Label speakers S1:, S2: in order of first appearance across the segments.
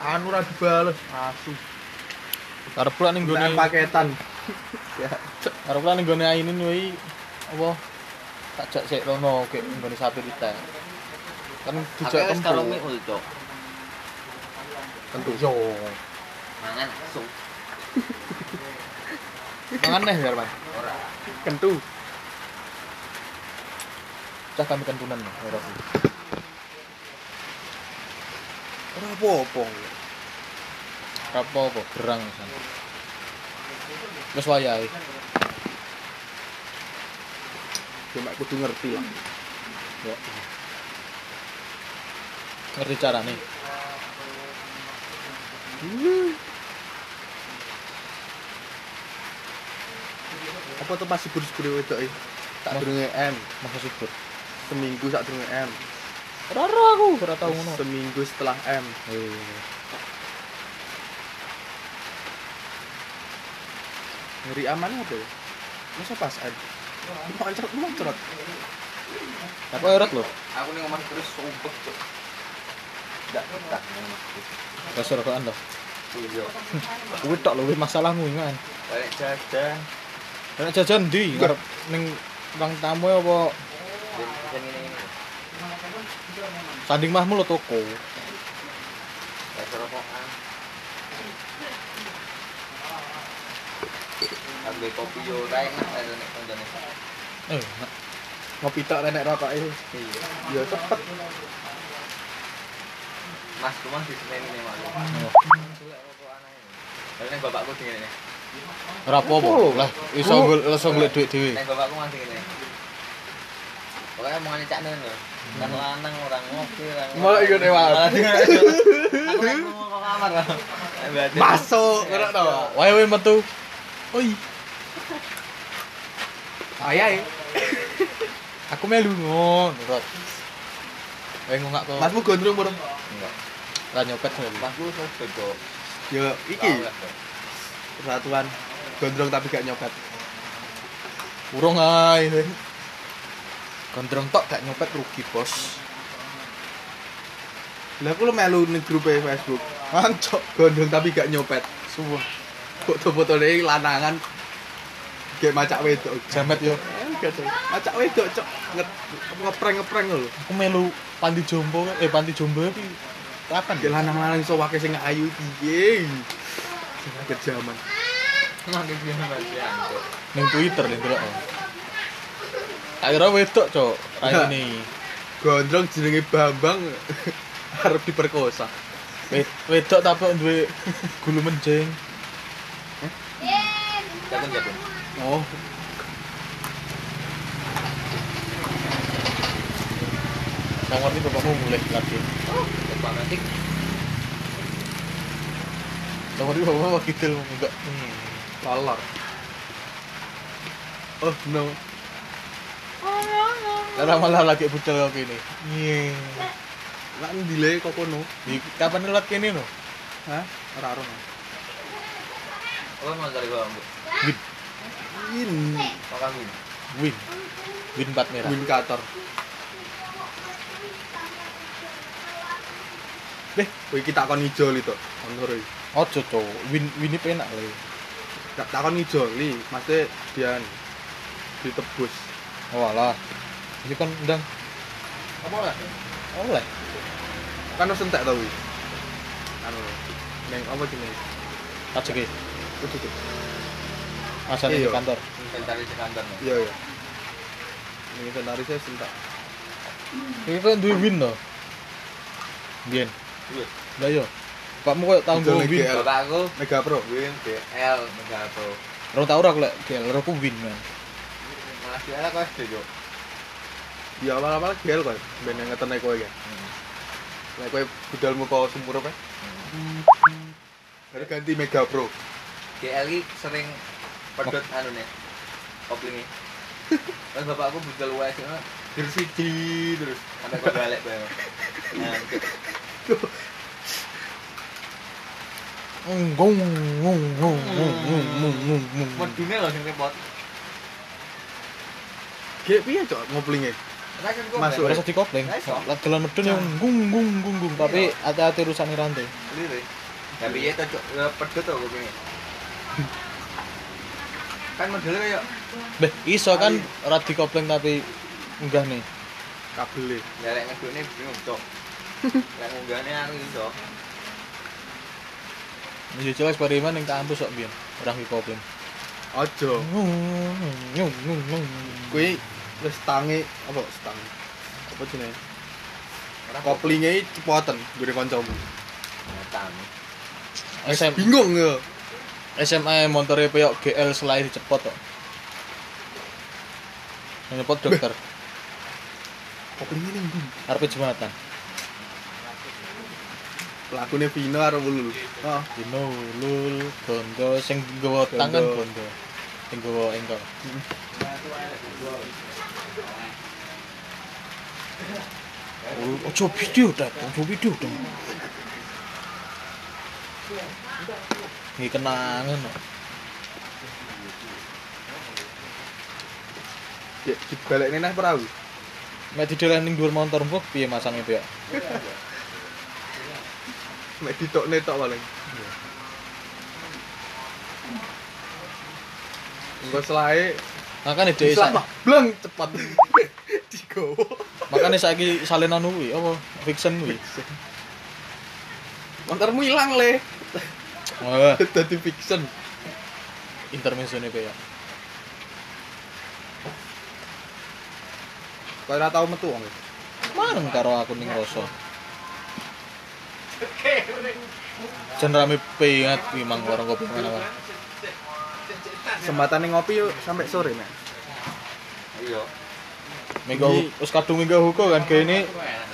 S1: anu ra dibales asu
S2: Arep pula ning
S1: Gunaan
S2: gone
S1: paketan ya
S2: arep pula ning gone ainin kuwi apa tak jak sik rono kek ning gone sapi kita. Kan dijak
S3: Akeh wis karo mie
S2: kempul.
S3: ul, Cok.
S1: tentu yo
S3: Mangan langsung.
S2: Mangan neh biar Mas.
S3: Ora.
S1: kentu
S2: Cah kami kentunan ya Rofi.
S1: ora apa-apa
S2: Apa apa gerang san. Wis wayahe.
S1: cuma kudu ngerti lah ya
S2: Ngerti carane.
S1: Hmm. apa tuh pas subur-subur wedok iki? tak
S2: Mas-
S1: durunge M
S2: Masa subur.
S1: seminggu sak durunge M
S2: Ora ora aku ora tau ngono.
S1: seminggu setelah M Ngeri aman apa ya? Masa pas M? Mau ancrot, mau ancrot
S2: Aku erot lho.
S3: Aku ning omah terus sumpek, Cok. Ndak tak.
S2: Wis rokokan lho.
S3: Iya.
S2: Kuwi tok lho wis masalahmu kan.
S3: Balik jajan.
S2: Nek jajan ndi? Ngarep ning bang tamu e apa
S3: Jajan ngene ngene.
S2: sanding mahmu lho toko.
S3: Tak rokokan. Ambil kopi yo ora enak ada nek kandhane.
S2: Eh,
S1: Ngopi tak nenek rokok
S2: e.
S1: itu
S3: Iya.
S1: Ya cepet
S3: Mas rumah di sini ini malu.
S2: Oh.
S3: Kalau nih bapakku di sini.
S2: ora apa-apa.
S1: Apa lho?
S2: Lah, iso
S1: Aku-
S2: gol- iso golek dhuwit dhewe.
S3: Nih bapakku masih ini. Pokoknya mau ngajak nih loh. Kan lanang orang ngopi orang.
S1: Malah ikut lewat.
S3: Malah ikut lewat. Aku nih mau ke kamar lah.
S1: Masuk,
S3: Iya.
S1: ngerok tau
S2: Wae wae metu. Oi,
S1: Ayai
S2: aku melu ngono, Rot. Wae ngongak kok.
S1: Masmu gondrong murah
S3: Enggak.
S2: Lah nyopet melu.
S3: Masku sobat kok.
S1: Ya,
S3: Iya.
S1: iki Persatuan Gondrong tapi gak nyopet
S2: Urung ae. Gondrong tok gak nyopet rugi, Bos.
S1: Lah aku lu melu ning grup e Facebook Mancok Gondrong tapi gak nyopet
S2: Suwun.
S1: Foto-foto ini lanangan Kayak macak wedok
S2: Jamet yo.
S1: Enggak dong. Macak wedok cok Nge- ngepreng-ngepreng lho
S2: Aku melu panti jompo, eh panti jombo iki. Kapan? ya?
S1: Kayak lanang-lanang iso wake sing ayu piye Sing agak zaman
S3: Makin biasa masih antuk.
S2: Ning Twitter lho delok. Tak kira wedok, Cok.
S1: Ya.
S2: Raine.
S1: Gondrong jenenge Bambang arep diperkosa.
S2: Wed- Wedok tapi duwe gulu menjeng.
S3: Jagun jagun.
S1: Oh.
S2: Nang ngerti bapakmu mulai lagi.
S3: Bapak nanti.
S2: Nang ngerti bapakmu lagi dil enggak. Hmm.
S1: Tolor. Oh no.
S2: Lah malah lagi budal kok kene. Iya.
S1: Lan dile kok kono.
S2: Di- Kapan lewat kene no?
S1: Hah? Ora ora.
S3: Apa mau cari bawang bu?
S2: Win,
S1: Win
S3: Mau kambing.
S2: win. Win bat merah.
S1: win kator.
S2: Beh.
S1: Kowe iki takon ijo li to. Ngono iki.
S2: Ojo cowok, win win ini enak lho.
S1: Tak takon ijo li, mesti dian ditebus.
S2: Oh alah. Ini kan ndang
S1: Apa ora?
S2: oleh.
S1: Kan wis entek to kuwi. Anu. Neng apa jenenge?
S2: Kaceke,
S1: Kudu.
S2: masane di
S1: Iya.
S2: kantor.
S3: Inventaris di kantor. nih.
S1: Iya iya. Ini senarisnya entek.
S2: Iki kan duwe win lho. Bien.
S3: Duit.
S2: Lah yo. Pakmu kok tau
S1: Budal
S2: nggo
S1: lagi,
S2: win.
S1: L.
S3: Bapakku.
S1: Mega Pro.
S3: Win BL Megato.
S2: Ora tau ora aku lek GL ora aku win man.
S3: Malah BL aku SD Cok.
S1: Ya awal-awal gel kok, ben yang ngetene kowe ya. Nek kowe budalmu kok sumurup ya. Baru ganti Mega Pro.
S3: GL ini sering pedot
S1: Oh.
S3: anu nih koplingnya Terus bapakku budal wae sih, terus siji terus sampai kau balik bae. Nah, gitu.
S2: Ngung ngung ngung ngung ngung ngung ngung ngung.
S3: Medune loh sing repot.
S1: Gek piye cok ngoplinge?
S3: Rakan kok.
S1: Masuk.
S2: Ora usah dikopling.
S3: Nggak iso.
S2: Lah dalan medun yang gung gung gung gung tapi hati-hati rusakne rantai.
S3: Lirik. Tapi ya cocok ya, pedot kok kok ini. Kan modelnya kayak
S2: Beh, iso kan ora dikopling tapi enggak nih.
S1: kabel
S3: ya lek ngedukne bingung cok. Lek ngunggahne anu iso.
S2: Yo jelas eksperimen ning kampus kok biyen. Ora dikopling.
S1: ojo
S2: Hmm.
S1: kuwi wis tangi apa stang apa jenenge
S3: Ora
S1: koplinge cepoten gure kancamu
S3: Datang.
S2: SM
S1: bingung ya
S2: SMA montore peyok GL selain cepot kok. Yang Cepot dokter,
S1: koplinge ning ndi
S2: arep jumatan.
S1: lakune Vino karo Ah, Ulul heeh
S2: Dino lul gondo sing nggawa tangan
S1: Gondo.
S2: gondo. Sing nggawa engkol. Oh, Ojo video dah, ojo video dong. Ini kenangan kok.
S1: ya dibalekne neh perahu
S2: Mek dideleh ning dhuwur motor mbok piye masange peyok?
S1: mek ditokne tok paling Engko selae
S2: Makane dhewe
S1: bisa
S2: sak.
S1: blang cepet digowo
S2: Makane saiki salinan kuwi apa fiction kuwi.
S1: montormu ilang le
S2: Wah,
S1: dadi fiction
S2: intermezzo nih kayak.
S1: kok ora tau metu wong
S2: Maneng karo aku ning rasa. Jan rame pengat kuwi mang warung kopi mana wae.
S1: sempatane ngopi yuk sampai sore nek
S3: Iya.
S2: Minggu
S1: Ini-
S2: wis kadung minggu huko kan kayak ini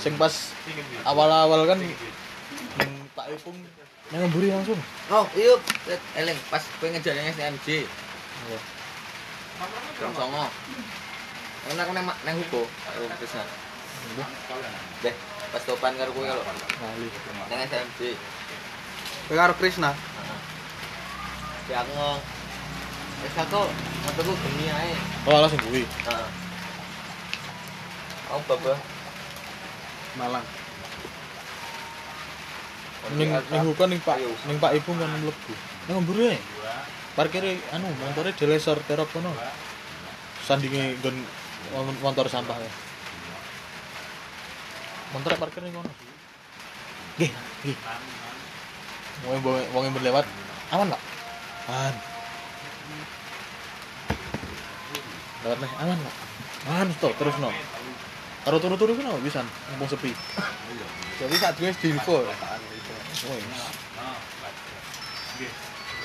S2: sing pas mm, awal-awal kan yang tak ipung nang mburi langsung.
S3: Oh, iya, Tet, Eleng, pas gue ngejarnya SMJ,
S2: Apa?
S3: jam songo. Karena aku neng neng huko, aku kesana. Deh, pas topan karo gue kalau
S2: Lali.
S3: neng SMJ,
S1: kowe karo Krisna
S3: ya aku ngong. Eh, aku ngotoku geni ae.
S2: Oh, langsung kuwi.
S3: Heeh. Aku babah.
S1: Malang
S2: Ning ning huko ning Pak
S3: Ayo.
S2: ning Pak Ipung kan mlebu. Nang mburi ae. Parkire anu montore delesor terop kono. Sandinge nggon mon- motor sampah ya. Motor parkir ning kono. Nggih, nggih. Wong wong- wong yang berlewat aman, Pak. Aman. Lewat nih, aman, Pak. Aman, stop, terus no. Karo turu-turu kan no, bisa, mumpung sepi.
S1: jadi saat gue diinfo
S2: Woi.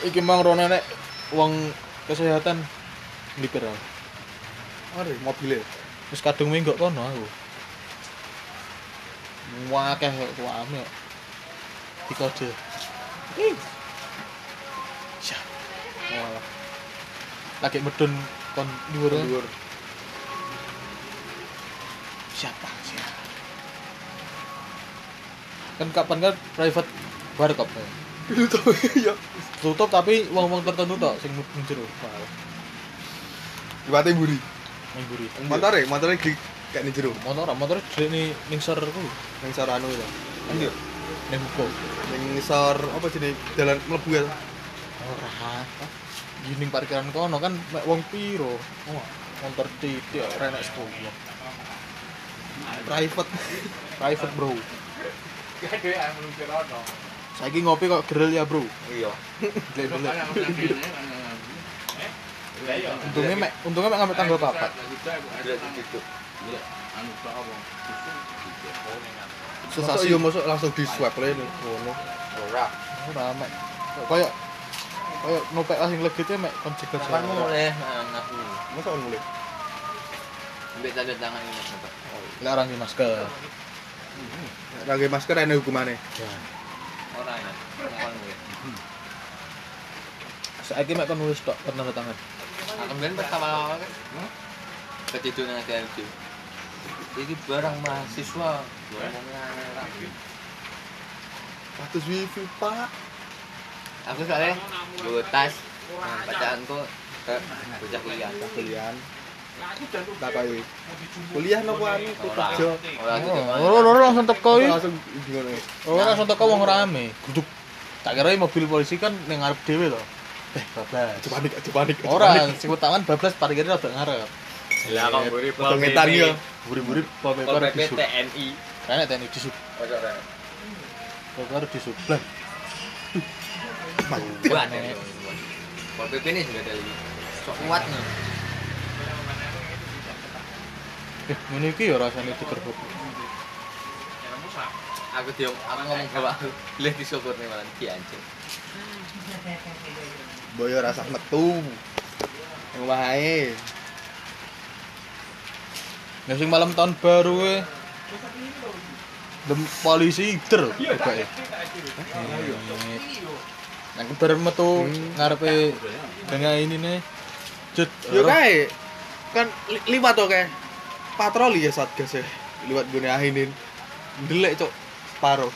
S2: Iki mang rono nek wong kesehatan lipir. aku.
S1: ore mobile
S2: Wis kadung minggu kono aku. Wakeh kok tuame kok. Dikode. Ih. Sya. Walah. Lagi medun kon dhuwur.
S1: dhuwur
S2: Siapa? Siapa? Kan kapan kan private bar kok. Pak.
S1: itu tuh ya
S2: tutup tapi wong-wong tertentu tok sing mung jero
S1: liwate mburi
S2: ning buri.
S1: motore motore di kayak ning jero
S2: Motor motor jene ning sor ku,
S1: ning sor anu ya
S3: Iya.
S2: ning buku.
S1: ning sor apa jenenge dalan mlebu ya
S2: Ora. Gini parkiran kono kan mek wong piro? Oh, motor titik renek 10.
S1: private
S2: Private, Bro. Saiki ngopi kok geril ya, Bro.
S3: Iya.
S2: Delek-delek. Untungnya mek untungnya mek ngambil tanggal papat.
S3: Udah ditutup.
S2: Susah
S1: susah
S2: sih.
S1: yo masuk langsung di swab le ning ngono
S3: Ora.
S2: Ora mek. Kayak kayak nopek lah sing legitnya mek kon jeger.
S3: Kapan mulai? Nah, ngaku.
S1: masa ono le
S3: Ambil tanda tangan ini, Mas.
S2: Lah orang di masker.
S1: ra nggae masker ana hukumane
S2: Ya.
S3: Ora ya. Kapan mulai?
S2: Saiki mek kon nulis tok kon tanda tangan.
S3: Aku kan pertama awal kan. Ketiduran ada LG. Ini barang mahasiswa. Ngomongnya aneh-aneh.
S1: 100 wifi pak
S3: Aku soalnya bawa tas. Nah, bacaanku ke bocah kuliah.
S1: kuliah takoki. Kuliah nopo anu kerja.
S3: Ora gitu, Mas.
S2: Loro loro langsung teko iki.
S1: Langsung bingung.
S2: Loro langsung teko wong rame. Geduk. Tak kira mobil polisi kan ning ngarep dhewe to. Eh, bablas.
S1: Coba panik, coba panik. aja panik.
S2: Ora, sing utaman bablas parkir rada ngarep.
S4: Lah kok mburi
S1: Padha ngetan ya.
S2: Buri-buri pol PP
S3: Pol
S2: arep
S3: PP
S2: disuk.
S3: TNI.
S2: Kene teni disuk.
S3: Ora ora.
S2: Pol PP arep disuk. Blang.
S3: Buat. Pol PP ini juga ada lagi. Sok kuat nih.
S2: Eh, ngene iki ya rasane digerbek.
S3: Aku diom, aku ngomong ke aku. Lihat disyukur nih malah di anjing.
S1: Boyo rasa metu. Yang wae.
S2: Ya sing malam tahun baru we. Dem polisi der e. pokoke. Nang kebar metu ngarepe tengah ini nih. Cut.
S1: Yo kae. Kan li- liwat to kae. Patroli ya satgas ya. Liwat gune ahinin. Ndelek cok separo.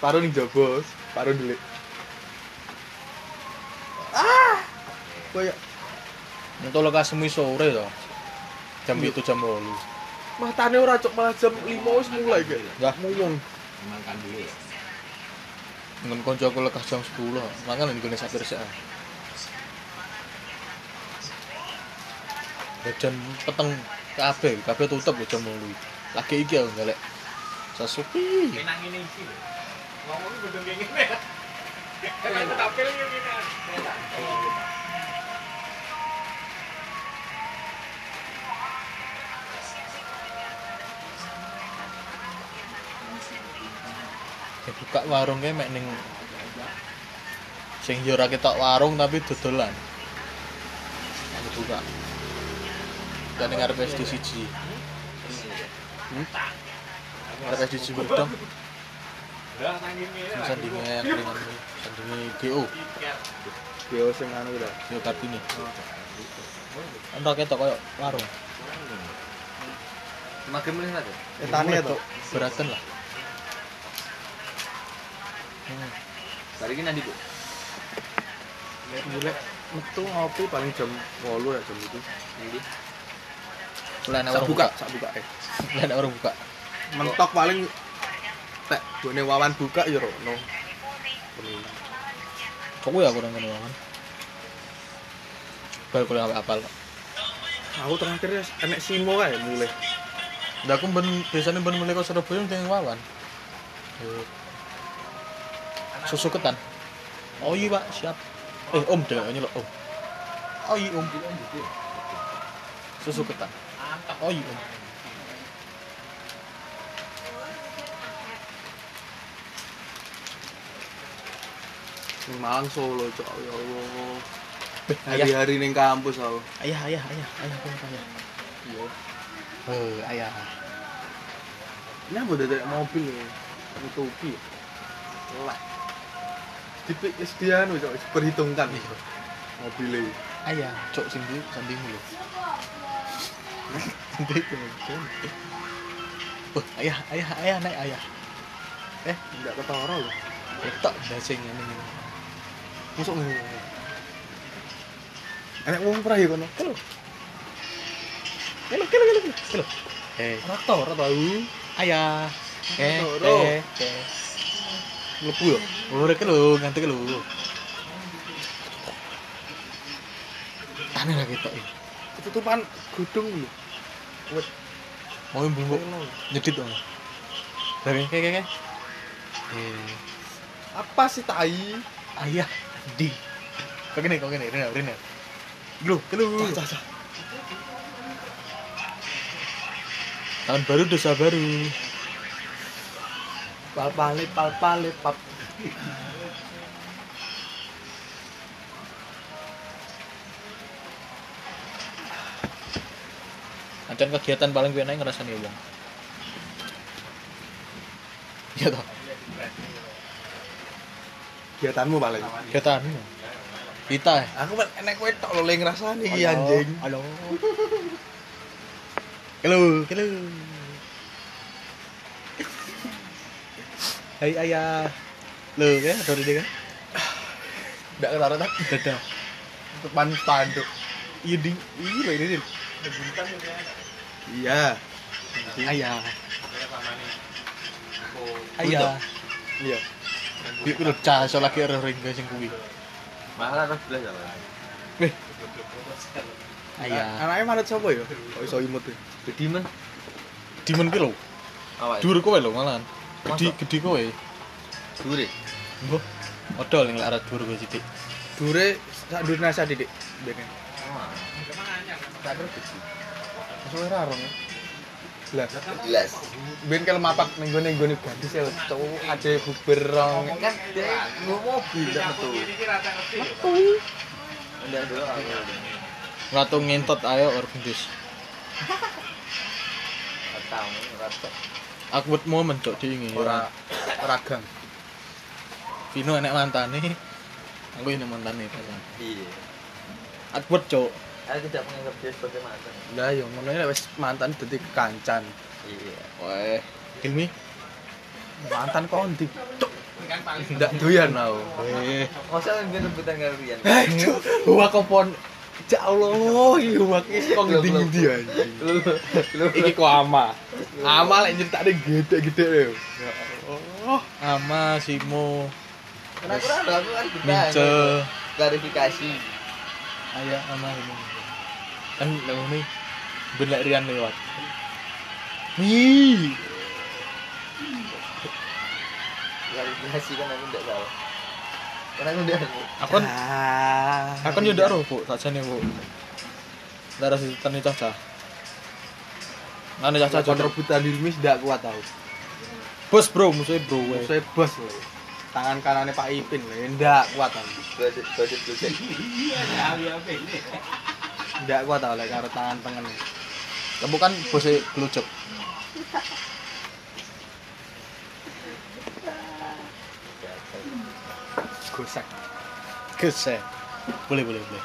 S1: Separo ning jaba, separo ndelek. Ah. Koyo
S2: Itu lokasi mi sore to. Jam 7 jam 8.
S1: matane ora cok malah jam 5 wis mulai kae.
S2: Lah.
S1: muyung.
S4: makan dulu ya.
S2: Ngen konco aku lekas jam 10. Mangan ning gone sapir sik. ah. Lah Jam peteng kabeh, kabeh tutup lho jam 8. Lagi iki aku ngelek. Sasuki.
S4: Kenang ini iki. lho. Ngomong iki gedung kayak ngene.
S3: Iya,
S4: Kan tampil iki ngene.
S2: Ya, buka warung kae mek ning sing yo ora ketok warung tapi dodolan. Aku buka. Dan ning arep SD siji. Hmm? Arep SD siji berdom,
S4: Lah nang ngene.
S2: sing sandinge angkringan kuwi. sandinge GO,
S1: Yo sing anu lho.
S2: GO Kartini. Ora ketok koyo warung,
S3: Mager mulih lah tuh.
S1: Etane to.
S2: beratan lah. Hmm.
S3: Hari ini nanti bu.
S1: Ndelek metu ngopi paling jam 8 ya jam itu.
S3: Nanti.
S2: Lah nek
S1: Sak
S2: warung
S1: buka,
S2: buka,
S1: sak buka kae.
S2: lah nek warung buka.
S1: mentok paling tek gone wawan buka ya rono
S2: Kok ya aku nang ngono kan. Bal kulo apal.
S1: aku terakhir ya enek simo kae mulai
S2: Lah aku ben biasanya ben mulai ke Surabaya ning Wawan. Eh, Susu ketan. Oh iya pak siap. Eh om deh nyelok om. Oh iya om. Susu ketan. Oh iya om.
S1: Ning Malang Solo cok ya Allah
S2: Eh, ayah
S1: hari-hari ning kampus aku
S2: ayah ayah ayah ayah ayah ayah.
S1: iya
S2: Eh ayah.
S1: ini aku dadek mobil ya nutupi lek dipik wis dianu cok wis perhitungkan mobilnya
S2: Ayah. Cok sing di sanding dulu. Sanding dulu. Oh ayah ayah ayah naik ayah.
S1: enggak ketara lho
S2: Ketok dasing ini. ini.
S1: masuk ngene enek wong pra ya kono
S2: Kelo. Kelo kelo kelo kelo. Eh. Rata ora tau. Uh, Ayah. Eh.
S1: Rata,
S2: Eh. eh.
S1: mlebu ya
S2: Ora kelo nganti kelo. Aneh lah ketok iki.
S1: ketutupan gedung lho
S2: Mau yang bumbu nyedit dong. Tapi kayak kayak. Eh.
S1: apa sih tai
S2: Ayah. Di. Kok gini kok gini Rina Rina. Kelo kelo.
S1: Cah, cah, cah.
S2: Tahun baru dosa baru.
S1: pal pale pal pale pap
S2: Ancen kegiatan paling gue naik ngerasani wong. Iya toh.
S1: kegiatanmu paling
S2: Kegiatan. Kita. eh.
S1: aku kan enek kowe tok lho le ngrasani iki anjing
S2: Halo. Halo, halo. Hai ayah. Lo ya, dari dia kan?
S1: ndak ketara tak
S2: Dadah.
S1: depan tanduk
S2: Iya ding, iya loh ini. Ding.
S4: Debutan yang dia anak.
S1: Iya.
S2: Ayah.
S4: Dia pamane.
S2: Ayah.
S1: Iya.
S2: Di kudu cah iso lagi ora ring sing kuwi.
S3: Mahal atau sebelas apa?
S2: Ayah.
S1: Anaknya manut sapa ya? Kok Oh, iso imut. ya?
S3: Gede mah.
S2: Dimen ki lho.
S3: Awak.
S2: Dur kowe lho malahan. Gede
S3: Masa?
S2: gede kowe.
S3: Dure.
S2: Mbah. Odol ning arah dur kowe sithik.
S1: Dure sak dure nasa didik bene.
S3: Wah. Tak kerja sih.
S1: Suwe ra rong. Lah,
S3: Jelas.
S1: ben kalau mapak ning gone gone gadis ya cowok ada buber rong.
S3: Kan
S4: Iya,
S3: dia ngomong mobil tak
S4: Aku
S3: betul.
S4: kiri kira tak ngerti.
S3: Enggak dulu aku.
S2: Ratu ngentot ayo orgendis.
S3: Tahu rata.
S2: Awkward moment cok diingi.
S1: Ora ora gang.
S2: Vino enek mantane. Aku enek mantane.
S3: Iya.
S2: Awkward cok.
S3: Aku tidak menganggap dia sebagai mantan.
S1: Lah ya ngono ya wis mantan dadi kancan.
S3: Iya.
S2: Wah. Ilmi.
S1: Mantan kok ndi?
S4: Kan paling
S1: Ndak doyan aku.
S2: Eh.
S3: Masa lebih rebutan kalian?
S1: Eh, Wah kompon. Ya Allah, iki wak iki kok ngendi-ngendi anjing.
S3: Lu lu
S1: Iki kok ama. Ama lek nyeritakne gede-gede lho. Ya Allah.
S2: Ama Simo.
S3: Kenapa kurang lho, aku kan
S2: Mince.
S3: ditanya klarifikasi.
S2: Ayo ama Simo. Kan lho nih. Ben lek Rian lewat. Nih.
S3: Klarifikasi kan aku tidak tahu. Karena aku tidak tahu.
S2: Aku kan aku kan yo ndak roh, Bu. Sajane, Bu. Ndak roh diteni cah-cah. Ngene cah-cah
S1: Cacau
S2: cocok.
S1: rebutan Hilmi ndak kuat tau.
S2: Bos, Bro, musuhe Bro. weh.
S1: Saya bos lho. Tangan kanannya Pak Ipin lho, ndak kuat tau.
S3: Budget budget budget.
S4: ya ya ini.
S1: Ndak kuat tau lek karo tangan tengen.
S2: Kamu kan bosnya Glojok.
S1: Gosek.
S2: Gese. eh. Boleh, boleh, boleh.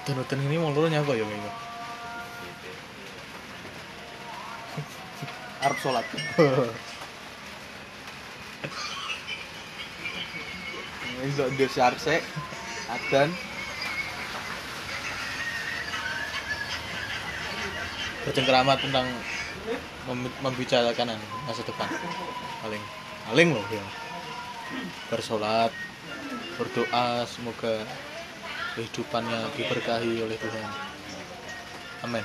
S2: Udan-udan ini mau lurus nyapa ya, Minggu?
S1: Arab sholat. Iso ndek arse. Adan.
S2: Bercengkerama tentang mem- membicarakan anu, masa depan. Paling, paling loh ya. Bersolat, berdoa, semoga kehidupannya diberkahi oleh Tuhan. Amin.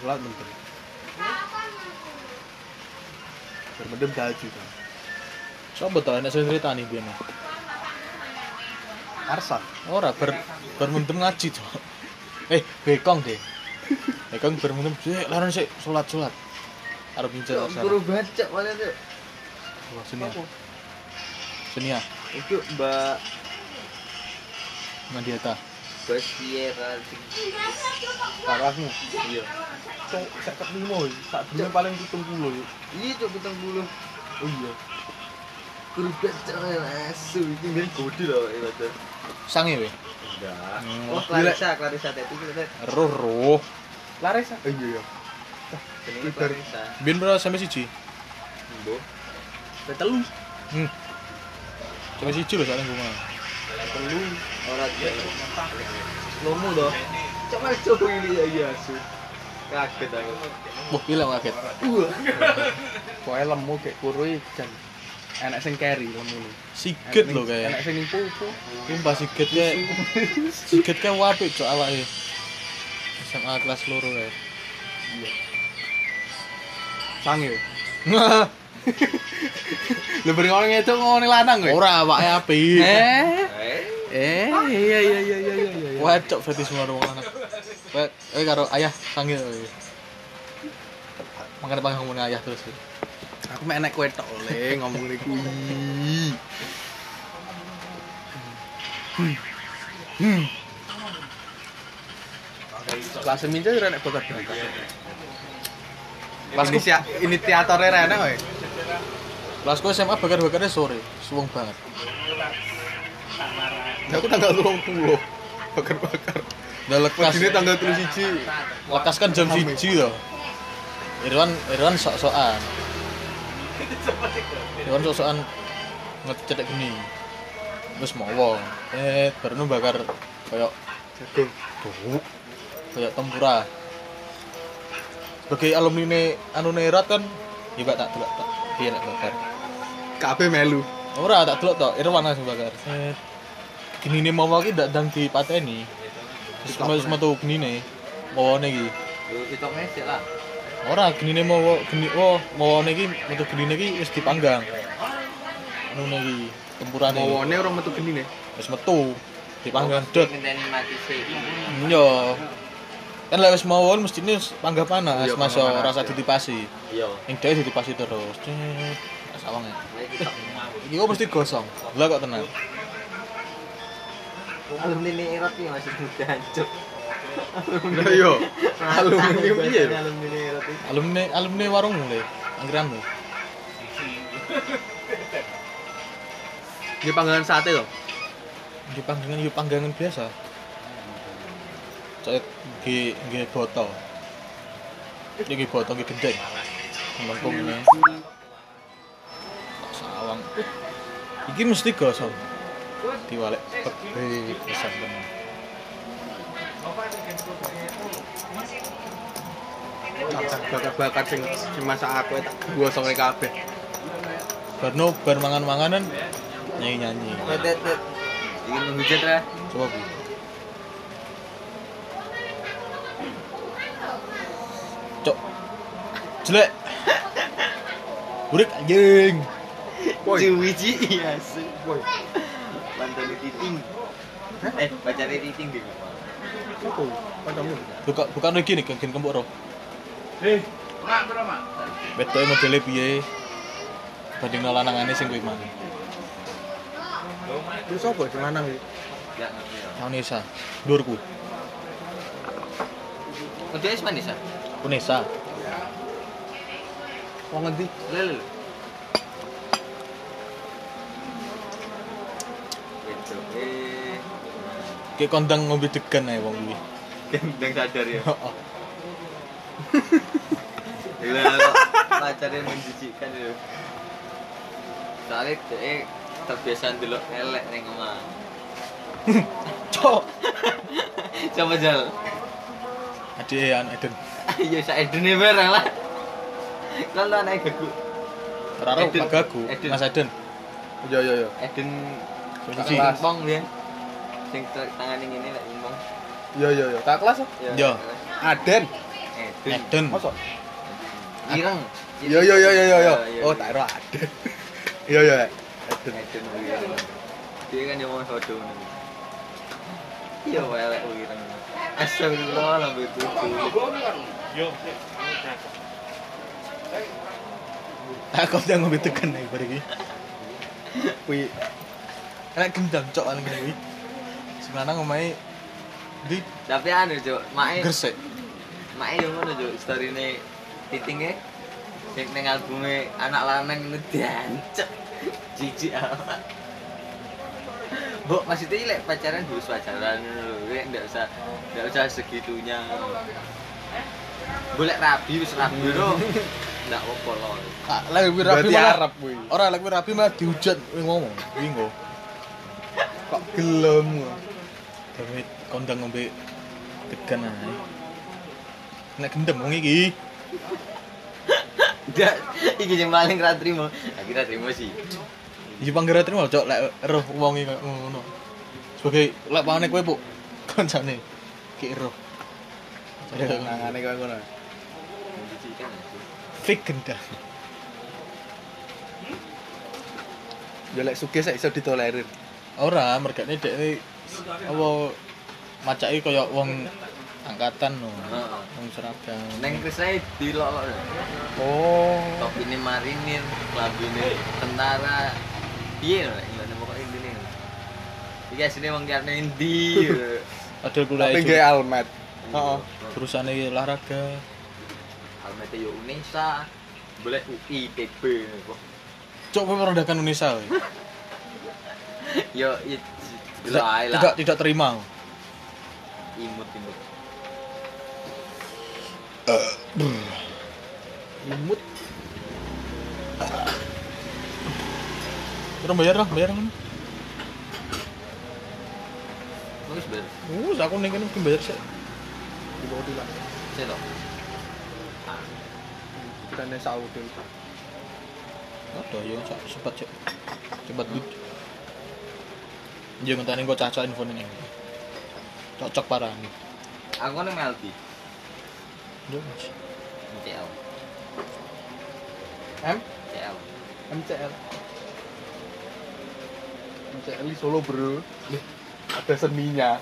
S1: Sholat mendem. Bermendem tahajud.
S2: Coba tau enak sing cerita nih biyen.
S1: Arsa.
S2: Ora ber bermendem ngaji to. Eh, bekong deh. Bekong bermendem sik laran sik salat-salat. Arep ngincer
S3: Cok,
S2: sana.
S3: guru baca mana tuh?
S2: Wah, Senia. Senia,
S3: Itu Mbak
S2: Mandiata.
S3: Basiera
S1: Parahmu.
S3: Iya.
S1: Cok, seket limo. Tak dulu paling pitung puluh. yuk.
S3: Iya cok petang bulu.
S1: Oh iya.
S3: Guru baca mana asu ini kan gode loh ini baca.
S2: Sange we.
S3: Enggak.
S2: Hmm.
S3: Oh Clarissa Clarissa tapi kita lihat
S2: Roh roh.
S1: Laresa. Oh iya ya.
S3: ini Clarissa.
S2: Biyen berapa sampe siji?
S3: Bo.
S1: Telu.
S2: Hmm. Sampe siji lho soalnya gua.
S3: Perlu orang dia. Lomo loh. Cok mana cok ini ya iya asu. Kaget aku.
S2: Wah, gila kaget.
S3: Wah.
S1: Koe lemu kek kurui jan. Enak sing carry lemu ni.
S2: Siget
S1: Enak
S2: lho
S1: sing- Enak
S2: kayak.
S1: sing pupu.
S2: Sumpah siget kayak siget kayak wapik cok awake. SMA kelas loro kayak.
S1: Iya. Sange. yuk. Lu beri orang itu ngomongin lanang gue.
S2: Ora awake
S1: Eh.
S2: apik.
S3: Eh.
S1: Eh, iya iya iya iya iya iya.
S2: Wah, cok fetish semua rumah anak. Wah, eh karo ayah panggil. Makan panggil ngomongin ayah terus.
S1: aku mek enek kowe tok le ngomong niku. Hmm. Hmm. Kelas minca ora enek bocah berangkat. Kelas
S2: Kelasku-
S1: ini ini teaternya ra enek kowe.
S2: Kelas gue SMA bakar-bakarnya sore, suwung banget.
S1: Aku tanggal 20. Bakar-bakar.
S2: Udah lekas,
S1: Ini tanggal 31.
S2: lekas kan jam siji loh. Irwan Irwan sok-sokan
S4: Seperti itu.
S2: Irwan sok-sokan ngecedek gini terus mau wong eh baru nu bakar kayak
S1: Jagung.
S2: tuh kayak tempura sebagai alumni ne anu nerat kan ya gak tak delok tak dia nak bakar
S1: Kabeh melu.
S2: ora tak delok tok Irwan langsung bakar eh gini nih mau lagi ndak dang dipateni terus
S1: Stop,
S2: mau
S1: Nek.
S2: semua tuh gini nih mau iki
S3: Yo hitungnya sih lah.
S2: Ora genine mawa geni oh mawane iki metu genine iki wis dipanggang. Ngono iki tempurane
S1: Mawone orang metu geni nih.
S2: wis metu dipanggang dot.
S3: Ngenteni mati sih.
S2: Yo. Kan lek wis mawon mestine wis panggah panas,
S1: Iya,
S2: masuk
S1: panggang panas,
S2: rasa
S1: iya.
S2: ditipasi.
S3: Iya.
S2: Ning dhewe ditipasi terus. Cet, Rasa wong.
S3: Lek kita
S2: Iki kok mesti gosong. Lah kok tenang.
S3: alumni ini erot nih masih muda hancur.
S1: Lah iya. yo. Alumni piye?
S3: Biasanya Alumni ini erot itu.
S2: Alumni alumni warung le. Anggeranmu.
S1: Ini panggangan sate loh.
S2: Di panggangan yo panggangan biasa. Cek nggih nggih botol. Iki botol iki gendeng. Melengkung ini. Tak sawang. Iki mesti gosong. Diwalek pepe pisan tenan.
S1: Kabeh bakar-bakar sing sing masak aku tak gosong ning kabeh.
S2: Barno bar mangan-manganan nyanyi-nyanyi.
S3: Tet, tet, tet. Ingin menghujat lah.
S2: Coba Bu. Cok. Jelek. Burik anjing.
S1: Woi,
S3: Cuwiji iya sih. Mantan di titing. Eh, pacarnya titing deh.
S1: opo? Kancamu.
S2: Buka bukan iki nih genggen kembok roh.
S4: Hei, mak, bro, mak.
S2: Betul modelnya e piye? Banding lanangane sing kuwi mang.
S1: Terus opo sing lanang iki?
S3: Enggak ngerti ya.
S2: Unesa. Durku.
S3: Oh, dia Isman Nisa?
S2: Unesa.
S1: Wong ngendi?
S3: Lel. Itu. Eh,
S2: Kayak kondang ngombe degan ae wong kuwi.
S3: gendeng sadar ya.
S2: Heeh.
S3: Gila, pacarnya menjijikkan ya. Soalnya dia terbiasa dulu elek nih kemana.
S2: Cok.
S3: Coba jal.
S2: Ade e an Eden.
S3: Iya, saya Edene bareng lah. Kan lo anak gagu.
S2: Raro
S3: Eden.
S2: pagaku.
S3: Eden.
S2: Mas Eden.
S1: Yo yo yo.
S3: Eden
S2: Sing
S3: tak
S2: siji.
S3: ngomong dia. Sing tangan yang ini lek ngomong.
S1: Yo yo yo. Iya, Tak kelas.
S2: Yo.
S1: Aden.
S3: Eden.
S2: Eden.
S1: Mosok?
S3: Ireng.
S1: Yo yo yo yo yo yo.
S3: Iya,
S1: Oh,
S3: iya.
S1: tak ero Aden. Yo yo. Aden.
S3: Eden Wireng. Dia kan yang ngomong sodo nih. Iya, oh, welek Wireng. Astagfirullah lambe tutu.
S4: Yo,
S2: Aku udah ngombe degan ae bar iki. Kuwi enak gendang cok an ngene kuwi. Sing lanang omahe di
S3: Tapi anu, Cuk, eh, mae
S2: gresik.
S3: mae yang ngono, Cuk, storine titinge sing ning albume anak lanang ngono diancet. Jijik amat. Mbok maksudnya ini, lek pacaran harus pacaran ngono lho, lek ndak usah ndak usah segitunya. Boleh rabi wis rabi lho. Ndak apa-apa lho.
S2: Ah, lek kuwi rapi
S1: Berarti
S2: malah
S1: Arab kuwi.
S2: Ora lek kuwi rapi malah dihujat kuwi ngomong. Kuwi nggo.
S1: Kok gelem. kok.
S2: Gawe kondang ngombe ah, degan ae. Nek gendem wong iki.
S3: Ndak, iki sing paling ra trimo. Aku ra trimo sih.
S2: Iki panggara trimo cok lek roh wong iki kaya ngono. Sebagai lek pangane kowe puk kancane ki roh.
S1: Aduh, nangane koyo ngono.
S3: Menjijikan ya, Cuk.
S2: Fik gendang.
S1: Yo Ya, lek sugih sak iso ditolerir.
S2: Ora, mergane dhek e apa macake kaya wong angkatan no.
S3: Heeh.
S2: Wong Surabaya.
S3: Neng Krisna dilolok.
S1: Oh.
S3: Topine marinir, labine tentara. Piye lho nek ngene pokoke intine. Iki asline wong karne endi.
S2: Ada kuliah
S1: Tapi
S2: jur-
S1: nggih almet.
S3: Heeh.
S2: jurusan olahraga.
S3: Almete yo Unesa. Boleh UI TB.
S2: Cok kowe merendahkan Unesa. woy.
S3: Yo yo
S2: Tidak,
S3: ae
S2: tidak
S3: lah.
S2: tidak terima.
S3: Imut imut.
S2: Imut. Terus bayar lah, bayar kan.
S3: Wis bener.
S2: Wes aku ning kene mesti bayar sih.
S1: di bawah dulu
S3: Sik to.
S1: dan yang sahur dulu
S2: Ada yo sak cepat cek. Cepat duit. Yo ngenteni kok cacah info ning. Cocok parah nih.
S3: Aku kan yang meldi.
S2: Yo. Mas.
S3: CL.
S1: M
S3: CL.
S1: MCL MCL di Solo bro ada seninya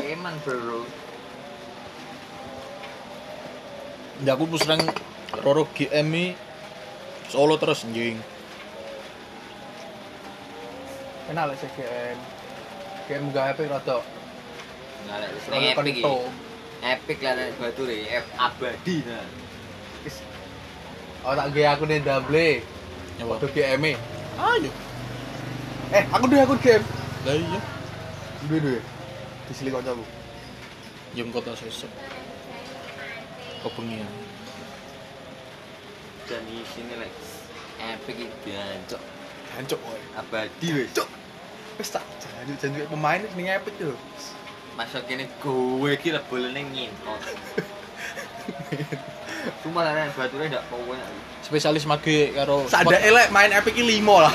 S3: Eman bro.
S2: Ya aku terus terang Roro GM ini solo terus anjing.
S1: enak lah CGM CGM gak HP rada
S3: Ngalek wis
S1: rada
S3: ning epic.
S1: kento.
S3: iki. Epic lah nek batu re, F abadi nah.
S1: oh tak gue aku nih double
S2: Ya
S1: waktu
S2: waduh.
S1: GM -e.
S2: Ayo.
S1: eh aku deh aku GM
S2: Lah iya.
S1: dua dua di silikon kamu
S2: Yo engko tak sesuk. Kebengi ya.
S3: Dan isine lek epic iki jancuk
S1: jancok woy
S3: abadi wis.
S1: Cuk. wes tak janjuk janjuk pemain ini epic tuh
S3: Masuk kene gowe iki lebolene ngintot. Cuma lah nek bature ndak kowe
S2: Spesialis mage karo
S1: Sada
S2: spot.
S1: elek main epic ini limo lah.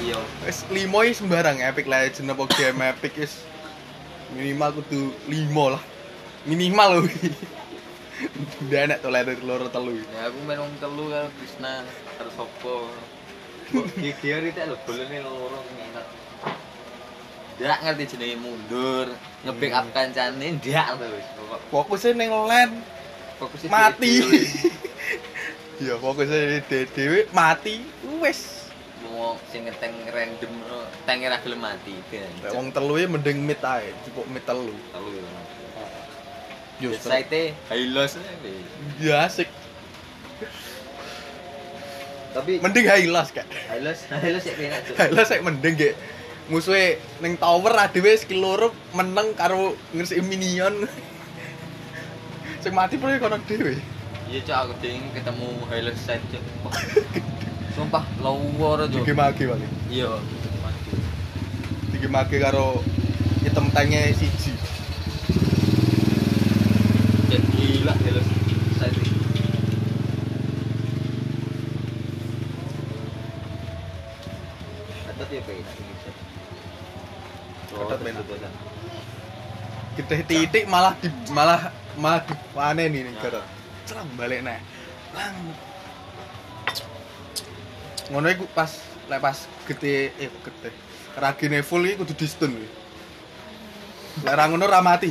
S3: iya.
S1: Wis limo iki sembarang epic legend apa game epic wis minimal kudu limo lah. Minimal loh. Udah enak tuh ladder loro telu.
S3: Ya aku main wong telu karo Krisna karo sapa. Kok GGR iki tak lebolene loro ngintot. Ndak ngerti jenenge mundur, ngebek up kancane ndak to wis. Pokok
S1: Fokusnya neng lane
S3: fokusnya
S1: mati.
S3: dhewe.
S1: Iya, fokusnya di dewe mati. Wes.
S3: Mau sing ngeteng random eh, tenge ra gelem mati.
S1: Lek Wong telu iki mending mid ae, cukup mid telu.
S3: telu.
S2: Yo,
S3: Yo
S2: spot.
S3: site high loss ae.
S1: Ya asik.
S3: Tapi
S1: Mending highlights kan.
S3: Halus, halus ya kena tuh.
S1: Highlights sik mending ge musuhe ning tower adewe skill loro meneng karo ngresiki minion. Sing mati pun kono dhewe.
S3: Iya cok aku ding ketemu halus set cok. Wah. Sumpah lower
S1: Tinggi
S3: cok.
S1: mage wali.
S3: Iya. mati.
S1: Tinggi mage karo item tange siji.
S3: Jadi gila halus set. Atau dia kayak gini cok.
S1: Ketat main. Kita titik malah di malah malah dipanen ini gara. Ceram balik nek. Lang. Ngono iku pas lek pas gede eh gede. Ragine full iki kudu di stun kuwi. Lek ra ngono ra mati.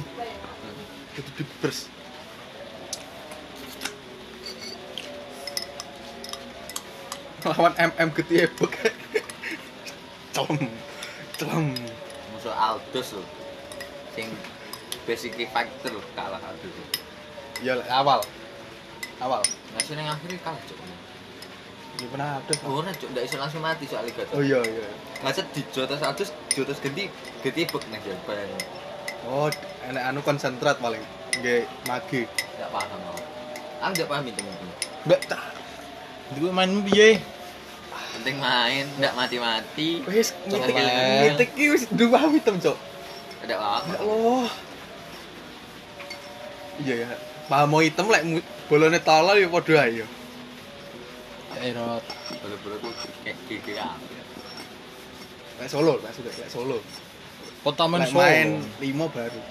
S1: Kudu dibers. Lawan MM gede ebek. Celem. Celem.
S3: Musuh Aldus loh. Sing basic factor loh kalah Aldus.
S1: Ya lek awal. Awal.
S3: Nasi yang Nah, akhirnya kalah cok.
S1: Ya pernah ada.
S3: Oh, nah, cok, ndak iso langsung mati soalnya gak
S1: Oh iya iya.
S3: Macet di jotos atus, jotos ganti, ganti bek nih jalan bareng.
S1: Oh, enak anu konsentrat paling. Nggih, mage.
S3: Nggak paham aku. Aku nggak paham itu mungkin.
S1: Mbak tak.
S2: Iku main piye?
S3: Penting main, nggak mati-mati.
S1: Wis
S3: Cok,
S1: ngitik
S3: Bang.
S1: ngitik ki wis dua item, Cok.
S3: Ada apa?
S1: Ya Allah. Iya ya. Paham mau item lek mu- bolone tolol ya padha ae ya.
S2: Error.
S3: Bulu-bulu aku kayak gigi apa?
S1: Lek solo, lek solo, lek solo.
S2: Kota main
S1: Lek
S2: solo.
S1: main 5 baru.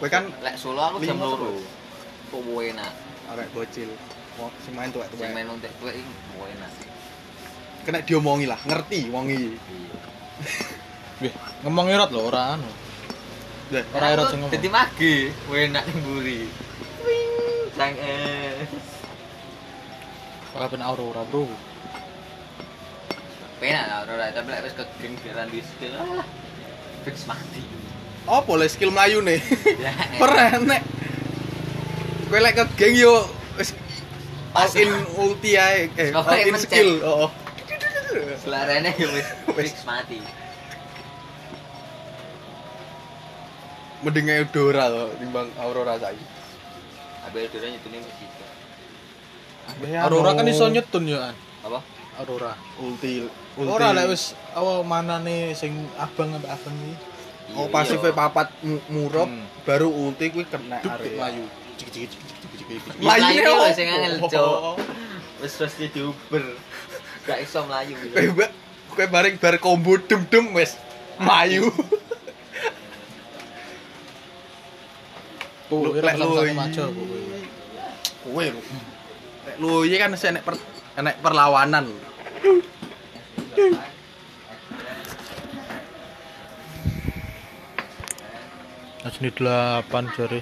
S1: Kowe kan
S3: Lek solo aku jam
S1: Lima
S3: loro.
S1: terus.
S3: Kok mau enak?
S1: arek bocil. Wong sing main tuwek
S3: Sing
S1: tuwek.
S3: main nontek gue ini mau enak.
S1: Kena diomongi lah, ngerti wong iki.
S3: Iya.
S2: Wih, ngomong erot lho ora anu.
S1: Lah,
S2: Ora erot sing
S3: Jadi
S2: ngomong.
S3: magi, gue enak nih buri. Wing, sang eh. es.
S2: Ora ben aurora, Bro.
S3: Penak lah, Aurora. Tapi lek wis kegeng geran di skill. ah, Fix mati.
S1: opo lek oh, skill mlayu nih?
S3: Ya,
S1: Keren nek. Kowe lek ke geng yo wis all in ulti ae eh
S3: Pokoknya
S1: all in
S3: mencet.
S1: skill. oh. Heeh.
S3: Selarane ya wis
S1: Wis.
S3: fix mati.
S1: Mending Eudora kok timbang Aurora saiki.
S3: Abel Dora nyetune mesti.
S2: Aurora kan iso nyetun yo an.
S3: Apa?
S2: Aurora.
S1: ulti ulti
S2: Ora lek wis apa manane sing abang ambek abang iki.
S1: oh
S3: Iya,
S1: pasifnya
S3: iya.
S1: papat mu- murub
S2: Hmm.
S1: baru ulti kuwi kena
S2: Duk
S1: area.
S2: melayu. Cik cik cik cik cik cik.
S3: Iya,
S1: Melayu
S3: melayu
S1: ini
S3: wae
S1: apa?
S3: sing angel, Cok. Wis pasti diuber. Gak iso melayu.
S1: Kayak eh, mbak, kayak bareng bar combo dem dem wes mayu.
S2: Ku
S1: Lu,
S2: ora
S1: lek lu
S2: sama
S1: iki.
S2: majo ku.
S1: Kowe lho. Lek lu iki kan sih enek per, enek perlawanan.
S2: Ajene 8 jare.